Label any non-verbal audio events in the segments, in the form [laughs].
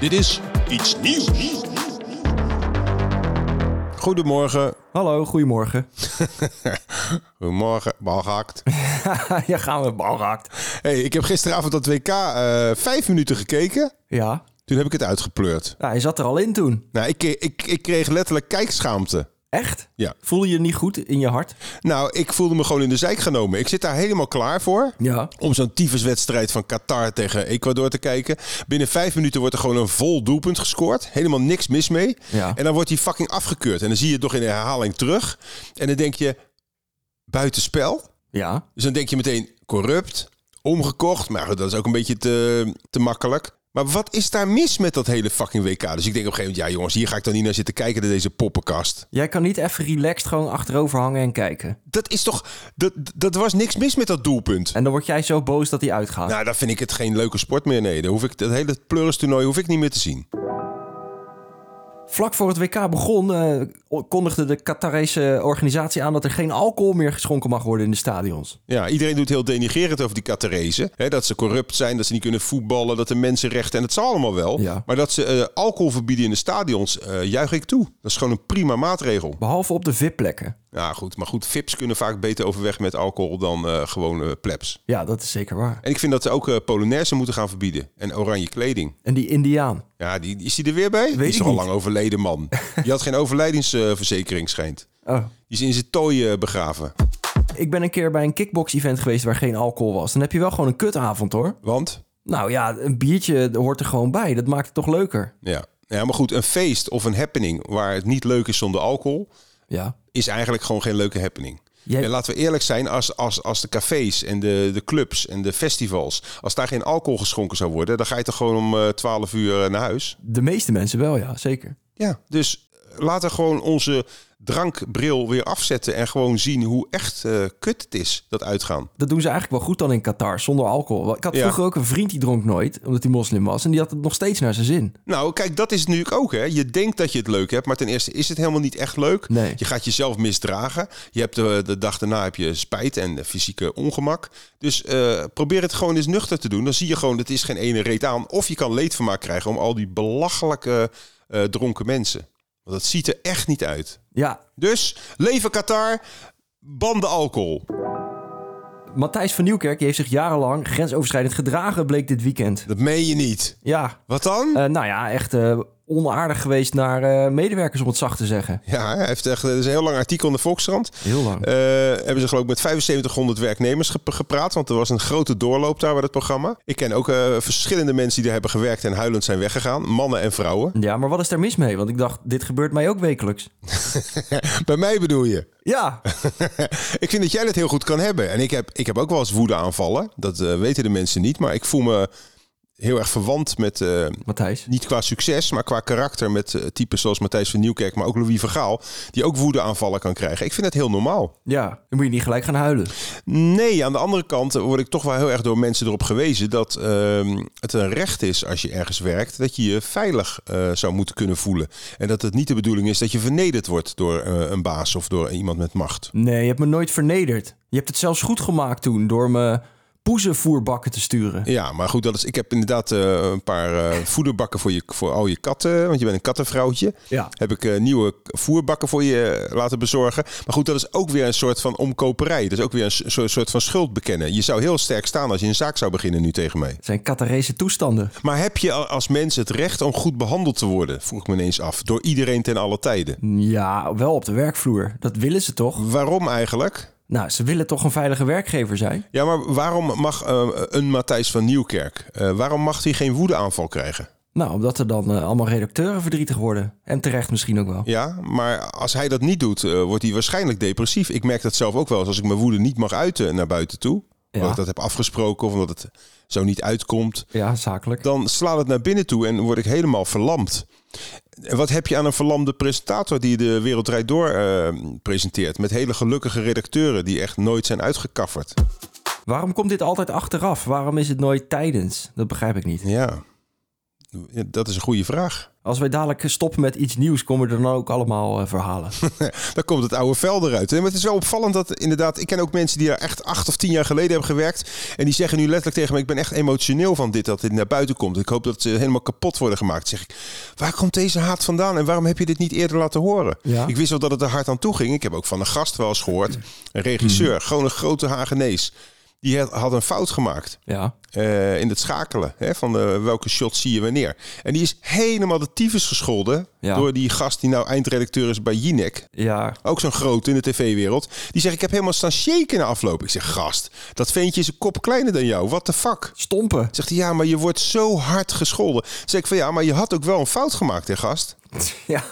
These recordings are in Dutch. Dit is iets nieuws. Goedemorgen. Hallo, goedemorgen. Goedemorgen, bal gehakt. [laughs] ja, gaan we bal raakt. [laughs] Hey, ik heb gisteravond dat WK eh, vijf minuten gekeken. Ja, Toen heb ik het uitgepleurd. nou, hij zat er al in toen. Nou, ik, ik, ik kreeg letterlijk kijkschaamte. Echt? Ja. Voel je je niet goed in je hart? Nou, ik voelde me gewoon in de zijk genomen. Ik zit daar helemaal klaar voor. Ja. Om zo'n tyfuswedstrijd van Qatar tegen Ecuador te kijken. Binnen vijf minuten wordt er gewoon een vol doelpunt gescoord. Helemaal niks mis mee. Ja. En dan wordt die fucking afgekeurd. En dan zie je het nog in de herhaling terug. En dan denk je, buitenspel. Ja. Dus dan denk je meteen, corrupt, omgekocht. Maar goed, dat is ook een beetje te, te makkelijk. Maar wat is daar mis met dat hele fucking WK? Dus ik denk op een gegeven moment, ja jongens, hier ga ik dan niet naar zitten kijken naar deze poppenkast. Jij kan niet even relaxed gewoon achterover hangen en kijken. Dat is toch, dat, dat was niks mis met dat doelpunt. En dan word jij zo boos dat hij uitgaat. Nou, dan vind ik het geen leuke sport meer. Nee, dan hoef ik dat hele pleuris-toernooi hoef ik niet meer te zien. Vlak voor het WK begon eh, kondigde de Qatarese organisatie aan dat er geen alcohol meer geschonken mag worden in de stadions. Ja, iedereen doet heel denigerend over die Qatarese. Hè, dat ze corrupt zijn, dat ze niet kunnen voetballen, dat de mensenrechten... en het zal allemaal wel. Ja. Maar dat ze eh, alcohol verbieden in de stadions, eh, juich ik toe. Dat is gewoon een prima maatregel. Behalve op de VIP-plekken. Ja, goed. Maar goed, vips kunnen vaak beter overweg met alcohol dan eh gewoon eh, plebs. Ja, dat is zeker waar. En ik vind dat ze ook eh Polonaise moeten gaan verbieden. En oranje kleding. En die Indiaan. Ja, die, is die er weer bij? die is ik toch al niet. lang overleden, [laughs] man. Die had geen overlijdensverzekering, schijnt. Oh. Die is in zijn tooi eh, begraven. Ik ben een keer bij een kickbox-event geweest waar geen alcohol was. Dan heb je wel gewoon een kutavond hoor. Want? Nou ja, een biertje hoort er gewoon bij. Dat maakt het toch leuker. Ja. ja, maar goed, een feest of een happening waar het niet leuk is zonder alcohol... Ja. is eigenlijk gewoon geen leuke happening. Jij- En laten we eerlijk zijn, als, als, als de cafés en de, de clubs en de festivals... als daar geen alcohol geschonken zou worden... dan ga je toch gewoon om eh, 12 uur eh, naar huis? De meeste mensen wel, ja, zeker. Ja, dus laten we gewoon onze drankbril weer afzetten en gewoon zien hoe echt eh, kut het is, dat uitgaan. Dat doen ze eigenlijk wel goed dan in Qatar, zonder alcohol. Ik had Ja. vroeger ook een vriend die dronk nooit, omdat hij moslim was. En die had het nog steeds naar zijn zin. Nou, kijk, dat is het natuurlijk ook, hè. Je denkt dat je het leuk hebt, maar ten eerste is het helemaal niet echt leuk. Nee. Je gaat jezelf misdragen. Je hebt eh, de, de dag daarna heb je spijt en eh, fysieke ongemak. Dus eh, probeer het gewoon eens nuchter te doen. Dan zie je gewoon, het is geen ene reet aan. Of je kan leedvermaak krijgen om al die belachelijke eh, dronken mensen. Want dat ziet er echt niet uit. Ja, Dus, leven Qatar, ban de alcohol. Matthijs van Nieuwkerk die heeft zich jarenlang grensoverschrijdend gedragen, bleek dit weekend. Dat meen je niet. Ja, Wat dan? eh, nou ja, echt eh, onaardig geweest naar eh, medewerkers, om het zacht te zeggen. ja, hij heeft echt, er is een heel lang artikel in de Volkskrant. Heel lang. Eh, hebben ze geloof ik met 7500 werknemers gep- gepraat. Want er was een grote doorloop daar bij het programma. Ik ken ook eh, verschillende mensen die daar hebben gewerkt en huilend zijn weggegaan. Mannen en vrouwen. Ja, maar wat is daar mis mee? Want ik dacht, dit gebeurt mij ook wekelijks. [laughs] bij mij bedoel je. Ja, [laughs] ik vind dat jij dat heel goed kan hebben. En ik heb, ik heb ook wel eens woede aanvallen. Dat eh, weten de mensen niet. Maar ik voel me heel erg verwant met, eh, Matthijs. niet qua succes, maar qua karakter met eh, types zoals Matthijs van Nieuwkerk, maar ook Louis Vergaal, die ook woedeaanvallen kan krijgen. Ik vind het heel normaal. Ja, dan moet je niet gelijk gaan huilen. Nee, aan de andere kant word ik toch wel heel erg door mensen erop gewezen dat ehm, het een recht is als je ergens werkt, dat je je veilig eh, zou moeten kunnen voelen. En dat het niet de bedoeling is dat je vernederd wordt door eh, een baas of door iemand met macht. Nee, je hebt me nooit vernederd. Je hebt het zelfs goed gemaakt toen door me poezenvoerbakken te sturen. Ja, maar goed, dat is, ik heb inderdaad eh, een paar eh, voederbakken voor, je, voor al je katten, want je bent een kattenvrouwtje. Ja. Heb ik eh, nieuwe k- voerbakken voor je eh, laten bezorgen. Maar goed, dat is ook weer een soort van omkoperij. Dat is ook weer een s- soort- soort van schuld bekennen. Je zou heel sterk staan als je een zaak zou beginnen nu tegen mij. Het zijn Catarese toestanden. Maar heb je al- als mens het recht om goed behandeld te worden? Vroeg ik me ineens af. Door iedereen ten alle tijden. Ja, wel op de werkvloer. Dat willen ze toch? Waarom eigenlijk? Nou, ze willen toch een veilige werkgever zijn? Ja, maar waarom mag eh, een Matthijs van Nieuwkerk... eh, waarom mag hij geen woedeaanval krijgen? Nou, omdat er dan eh, allemaal redacteuren verdrietig worden. En terecht misschien ook wel. Ja, maar als hij dat niet doet, eh, wordt hij waarschijnlijk depressief. Ik merk dat zelf ook wel eens als ik mijn woede niet mag uiten naar buiten toe. Omdat Ja. ik dat heb afgesproken of omdat het zo niet uitkomt. Ja, zakelijk. Dan slaat het naar binnen toe en word ik helemaal verlamd. En Wat heb je aan een verlamde presentator die de Wereld Draait Door eh, presenteert? Met hele gelukkige redacteuren die echt nooit zijn uitgekafferd. Waarom komt dit altijd achteraf? Waarom is het nooit tijdens? Dat begrijp ik niet. Ja, Ja, dat is een goede vraag. Als wij dadelijk stoppen met iets nieuws, komen er dan ook allemaal eh, verhalen. Dan komt het oude vel eruit. Hè? Maar het is wel opvallend dat inderdaad... Ik ken ook mensen die daar echt acht of tien jaar geleden hebben gewerkt. En die zeggen nu letterlijk tegen me... Ik ben echt emotioneel van dit, dat dit naar buiten komt. Ik hoop dat ze helemaal kapot worden gemaakt. Zeg ik, waar komt deze haat vandaan? En waarom heb je dit niet eerder laten horen? Ja. Ik wist wel dat het er hard aan toe ging. Ik heb ook van een gast wel eens gehoord. Een regisseur, Hmm. gewoon een grote Hagenees. Die had- had een fout gemaakt. Ja, eh, in het schakelen. Hè, van eh, welke shot zie je wanneer. En die is helemaal de tyfus gescholden. Ja. Door die gast die nou eindredacteur is bij Jinek. ja. Ook zo'n groot in de tv-wereld. Die zegt, ik heb helemaal staan shaken na afloop. Ik zeg, gast, dat ventje is een kop kleiner dan jou. What the fuck? Stompen. [laughs] Zegt hij, ja, maar je wordt zo hard gescholden. Zeg ik van, ja, maar je had ook wel een fout gemaakt, hè, gast? Ja,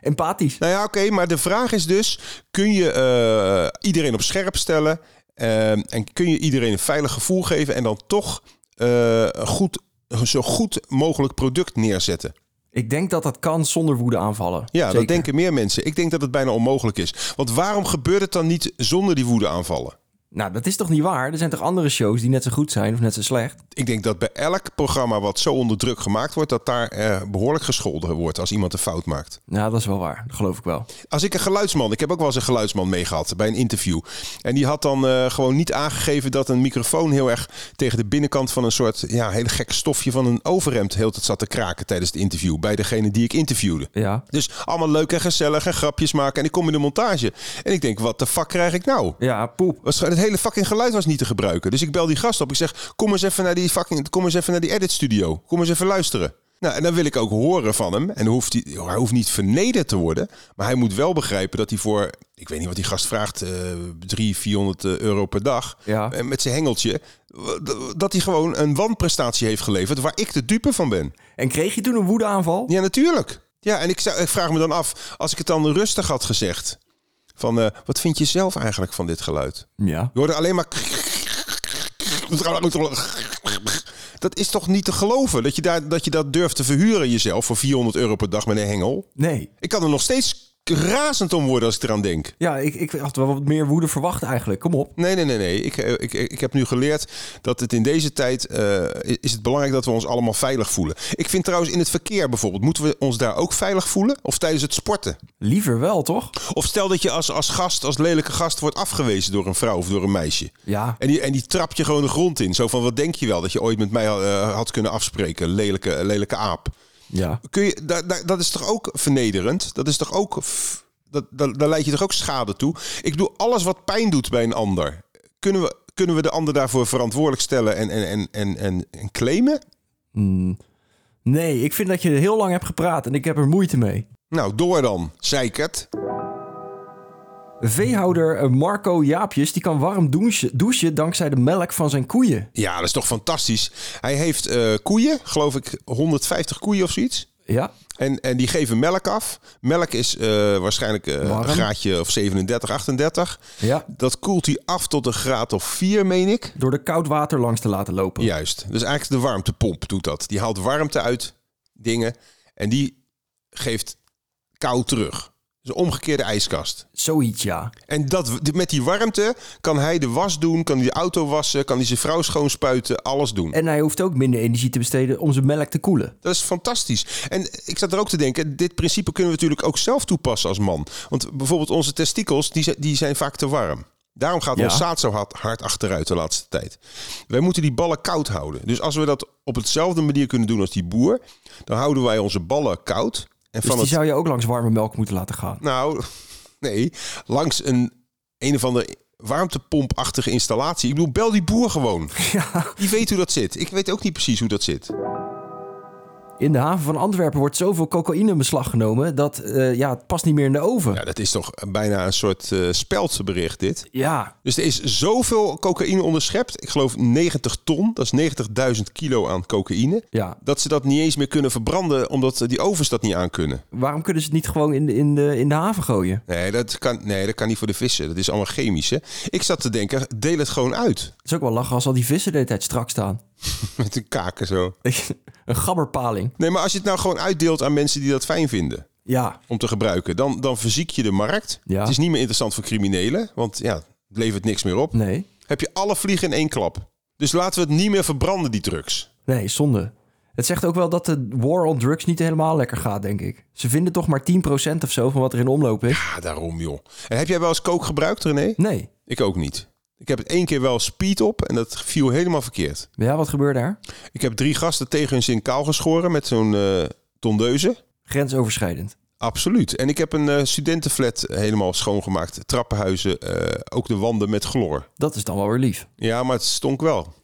empathisch. Nou ja, oké, maar de vraag is dus: kun je eh, iedereen op scherp stellen? eh, en kun je iedereen een veilig gevoel geven en dan toch eh, een goed, een zo goed mogelijk product neerzetten? Ik denk dat dat kan zonder woede aanvallen. Ja, Zeker. dat denken meer mensen. Ik denk dat het bijna onmogelijk is. Want waarom gebeurt het dan niet zonder die woedeaanvallen? Nou, dat is toch niet waar? Er zijn toch andere shows die net zo goed zijn of net zo slecht? Ik denk dat bij elk programma wat zo onder druk gemaakt wordt, dat daar eh, behoorlijk gescholden wordt als iemand een fout maakt. Nou, dat is wel waar. Dat geloof ik wel. Als ik een geluidsman, ik heb ook wel eens een geluidsman meegehad bij een interview. En die had dan eh, gewoon niet aangegeven dat een microfoon heel erg tegen de binnenkant van een soort ja, hele gek stofje van een overhemd heel tijd zat te kraken tijdens het interview. Bij degene die ik interviewde. Ja. Dus allemaal leuk en gezellig en grapjes maken. En ik kom in de montage. En ik denk, wat de fuck krijg ik nou? Ja, poep. Was, het hele fucking geluid was niet te gebruiken. Dus ik bel die gast op. Ik zeg, kom eens even naar die fucking, kom eens even naar die edit studio. Kom eens even luisteren. Nou, en dan wil ik ook horen van hem. En hoeft hij, hij hoeft niet vernederd te worden. Maar hij moet wel begrijpen dat hij voor, ik weet niet wat die gast vraagt, eh 300, 400 euro per dag. Ja. En met zijn hengeltje. Dat hij gewoon een wanprestatie heeft geleverd waar ik de dupe van ben. En kreeg je toen een woedeaanval? Ja, natuurlijk. Ja, en ik, zou- ik vraag me dan af, als ik het dan rustig had gezegd. Van, eh, wat vind je zelf eigenlijk van dit geluid? Ja. Je hoorde alleen maar. Dat is toch niet te geloven dat je, daar, dat je dat durft te verhuren jezelf voor 400 euro per dag met een hengel? Nee. Ik kan er nog steeds razend om worden als ik eraan denk. Ja, ik, ik had wel wat meer woede verwacht eigenlijk. Kom op. Nee, nee, nee, nee. Ik, eh, ik, ik heb nu geleerd dat het in deze tijd eh, is het belangrijk dat we ons allemaal veilig voelen. Ik vind trouwens in het verkeer bijvoorbeeld, moeten we ons daar ook veilig voelen? Of tijdens het sporten? Liever wel, toch? Of stel dat je als, als gast, als lelijke gast, wordt afgewezen door een vrouw of door een meisje. Ja. En die, en die trap je gewoon de grond in. Zo van, wat denk je wel dat je ooit met mij eh, had kunnen afspreken? Lelijke, lelijke aap. Ja. Kun je, da, da- dat is toch ook vernederend? Dat is toch ook... f- dat, dat, daar leid je toch ook schade toe? Ik doe alles wat pijn doet bij een ander. Kunnen we, kunnen we de ander daarvoor verantwoordelijk stellen en, en, en, en, en, en claimen? Nee, ik vind dat je heel lang hebt gepraat en ik heb er moeite mee. Nou, door dan, zeikert. Veehouder eh, Marco Jaapjes die kan warm douchen, douchen dankzij de melk van zijn koeien. Ja, dat is toch fantastisch. Hij heeft eh, koeien, geloof ik 150 koeien of zoiets. Ja, En, en die geven melk af. Melk is eh, waarschijnlijk eh, Warm. een graadje of 37, 38. Ja. Dat koelt hij af tot een graad of 4, meen ik. door de koud water langs te laten lopen. Juist. Dus eigenlijk de warmtepomp doet dat. Die haalt warmte uit dingen en die geeft koud terug. Dus een omgekeerde ijskast. Zoiets, ja. En dat, met die warmte kan hij de was doen, kan hij de auto wassen, kan hij zijn vrouw schoonspuiten, alles doen. En hij hoeft ook minder energie te besteden om zijn melk te koelen. Dat is fantastisch. En ik zat er ook te denken, dit principe kunnen we natuurlijk ook zelf toepassen als man. Want bijvoorbeeld onze testikels, die zijn, die zijn vaak te warm. Daarom gaat Ja. ons zaad zo hard, hard achteruit de laatste tijd. Wij moeten die ballen koud houden. Dus als we dat op hetzelfde manier kunnen doen als die boer, dan houden wij onze ballen koud. En Dus van die het, zou je ook langs warme melk moeten laten gaan. [laughs] nou, nee, langs een een of andere warmtepompachtige installatie. Ik bedoel, bel die boer gewoon. Ja. Die weet hoe dat zit. Ik weet ook niet precies hoe dat zit. In de haven van Antwerpen wordt zoveel cocaïne in beslag genomen dat eh, ja, het past niet meer in de oven. Ja, dat is toch bijna een soort eh speldbericht dit. Ja, Dus er is zoveel cocaïne onderschept. Ik geloof 90 ton. Dat is 90.000 kilo aan cocaïne. ja. Dat ze dat niet eens meer kunnen verbranden, omdat eh, die ovens dat niet aan kunnen. Waarom kunnen ze het niet gewoon in de, in de, in de haven gooien? Nee dat, kan, nee, dat kan niet voor de vissen. Dat is allemaal chemisch, hè? Ik zat te denken, deel het gewoon uit. [laughs] Het is ook wel lachen als al die vissen de hele tijd strak staan. [laughs] Met een kaken zo. een gabberpaling. Nee, maar als je het nou gewoon uitdeelt aan mensen die dat fijn vinden Ja, om te gebruiken, dan, dan verziek je de markt. Ja. Het is niet meer interessant voor criminelen, want ja, het levert niks meer op. nee. Heb je alle vliegen in één klap. Dus laten we het niet meer verbranden, die drugs. Nee, zonde. Het zegt ook wel dat de war on drugs niet helemaal lekker gaat, denk ik. Ze vinden toch maar 10% of zo van wat er in omloop is. Ja, Ah, daarom joh. En heb jij wel eens kook gebruikt, René? Nee. Ik ook niet. Ik heb het één keer wel speed op en dat viel helemaal verkeerd. Ja, wat gebeurde daar? Ik heb drie gasten tegen hun zin kaal geschoren met zo'n eh, tondeuze. Grensoverschrijdend. Absoluut. En ik heb een eh, studentenflat helemaal schoongemaakt. Trappenhuizen, eh, ook de wanden met chloor. Dat is dan wel weer lief. Ja, maar het stonk wel.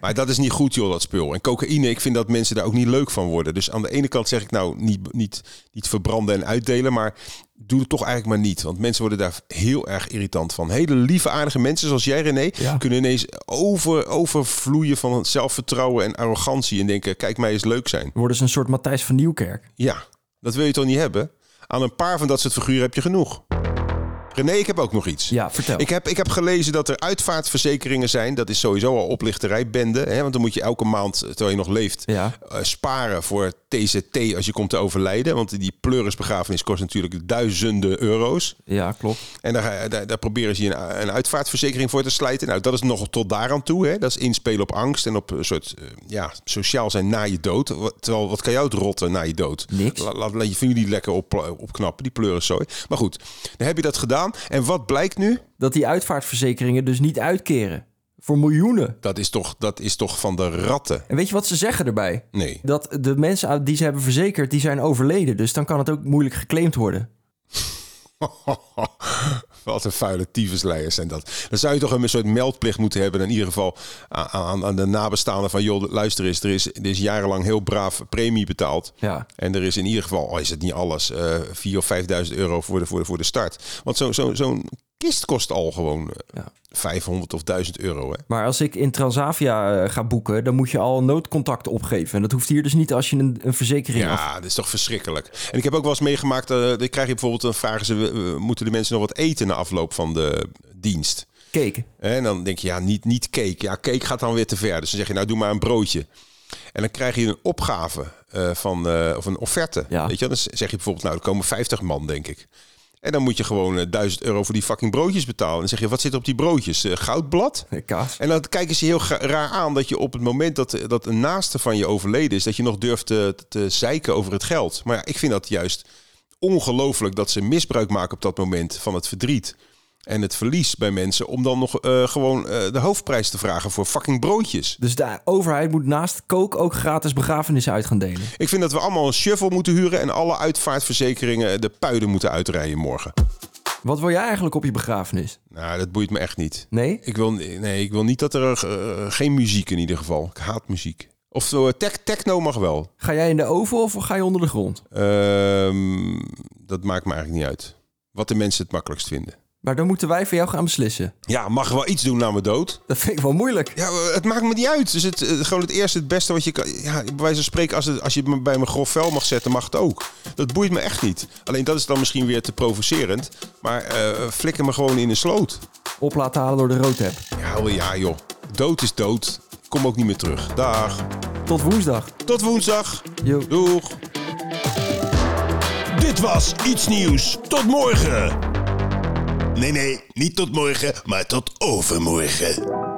maar dat is niet goed, joh, dat spul. En cocaïne, ik vind dat mensen daar ook niet leuk van worden. Dus aan de ene kant zeg ik nou, niet, niet, niet verbranden en uitdelen, maar doe het toch eigenlijk maar niet. Want mensen worden daar heel erg irritant van. Hele lieve, aardige mensen zoals jij, René, Ja. kunnen ineens over, overvloeien van zelfvertrouwen en arrogantie. En denken, kijk mij eens leuk zijn. Dan worden ze een soort Matthijs van Nieuwkerk. Ja, dat wil je toch niet hebben? Aan een paar van dat soort figuren heb je genoeg. René, ik heb ook nog iets. Ja, vertel. Ik heb, ik heb gelezen dat er uitvaartverzekeringen zijn. Dat is sowieso al oplichterijbende. Hè? Want dan moet je elke maand, eh, terwijl je nog leeft, Ja. eh, sparen voor TZT als je komt te overlijden. Want die pleurisbegrafenis kost natuurlijk duizenden euro's. Ja, klopt. En daar, ga- daar, daar proberen ze je een, een uitvaartverzekering voor te slijten. Nou, dat is nog tot daaraan toe. Hè? Dat is inspelen op angst en op een soort eh, ja, sociaal zijn na je dood. Wat- Terwijl, wat kan jou het rotten na je dood? Niks. La- Laat, laat je familie lekker op, eh, opknappen, die pleuriszooi. Maar goed, dan heb je dat gedaan. En wat blijkt nu? Dat die uitvaartverzekeringen dus niet uitkeren. Voor miljoenen. Dat is toch, dat is toch van de ratten? En weet je wat ze zeggen erbij? Nee. Dat de mensen die ze hebben verzekerd, die zijn overleden. Dus dan kan het ook moeilijk geclaimd worden. [laughs] Wat een vuile tyfusleiers zijn dat. Dan zou je toch een soort meldplicht moeten hebben. In ieder geval aan, aan, aan de nabestaanden van... joh, luister eens, er is, er is jarenlang heel braaf premie betaald. Ja. En er is in ieder geval, al is het niet alles... eh 4.000 of 5.000 euro voor de, voor, de, voor de start. Want zo- zo- zo'n kist kost al gewoon eh, Ja. 500 of 1000 euro. Hè? Maar als ik in Transavia eh, ga boeken, dan moet je al noodcontact opgeven. En dat hoeft hier dus niet als je een, een verzekering af... Ja, dat is toch verschrikkelijk. En ik heb ook wel eens meegemaakt, eh, dan krijg je bijvoorbeeld een vraag, ze, eh, moeten de mensen nog wat eten na afloop van de dienst? Keken. En dan denk je, ja, niet, niet cake. Ja, cake gaat dan weer te ver. Dus dan zeg je, nou, doe maar een broodje. En dan krijg je een opgave eh, van, eh, of een offerte. Ja. Weet je, wel? dan zeg je bijvoorbeeld, nou, er komen 50 man, denk ik. En dan moet je gewoon eh, 1000 euro voor die fucking broodjes betalen. En dan zeg je, wat zit op die broodjes? Eh, goudblad? Eh, Kaas. En dan kijken ze heel gra- raar aan dat je op het moment dat, dat een naaste van je overleden is, dat je nog durft te, te zeiken over het geld. Maar ja, ik vind dat juist ongelooflijk dat ze misbruik maken op dat moment van het verdriet en het verlies bij mensen. Om dan nog eh, gewoon eh, de hoofdprijs te vragen voor fucking broodjes. Dus de overheid moet naast kook ook gratis begrafenissen uit gaan delen. Ik vind dat we allemaal een shovel moeten huren en alle uitvaartverzekeringen eh, de puiden moeten uitrijden morgen. Wat wil jij eigenlijk op je begrafenis? Nou, dat boeit me echt niet. Nee? Ik wil, nee, ik wil niet dat er eh, geen muziek in ieder geval. Ik haat muziek. Of zo, eh, tech, techno mag wel. Ga jij in de oven of ga je onder de grond? Ehm, dat maakt me eigenlijk niet uit. Wat de mensen het makkelijkst vinden. Maar dan moeten wij voor jou gaan beslissen. Ja, mag wel iets doen na mijn dood. Dat vind ik wel moeilijk. Ja, het maakt me niet uit. Dus het, eh, gewoon het eerste, het beste wat je kan. Ja, bij wijze van spreken, als, het, als je het me bij mijn grof vuil mag zetten, mag het ook. Dat boeit me echt niet. Alleen dat is dan misschien weer te provocerend. Maar eh flikker me gewoon in de sloot. Op laten halen door de roodheb. Ja, wel ja, joh. Dood is dood. Kom ook niet meer terug. Dag. Tot woensdag. Tot woensdag. Yo. Doeg. Dit was iets nieuws. Tot morgen. Nee, nee, niet tot morgen, maar tot overmorgen.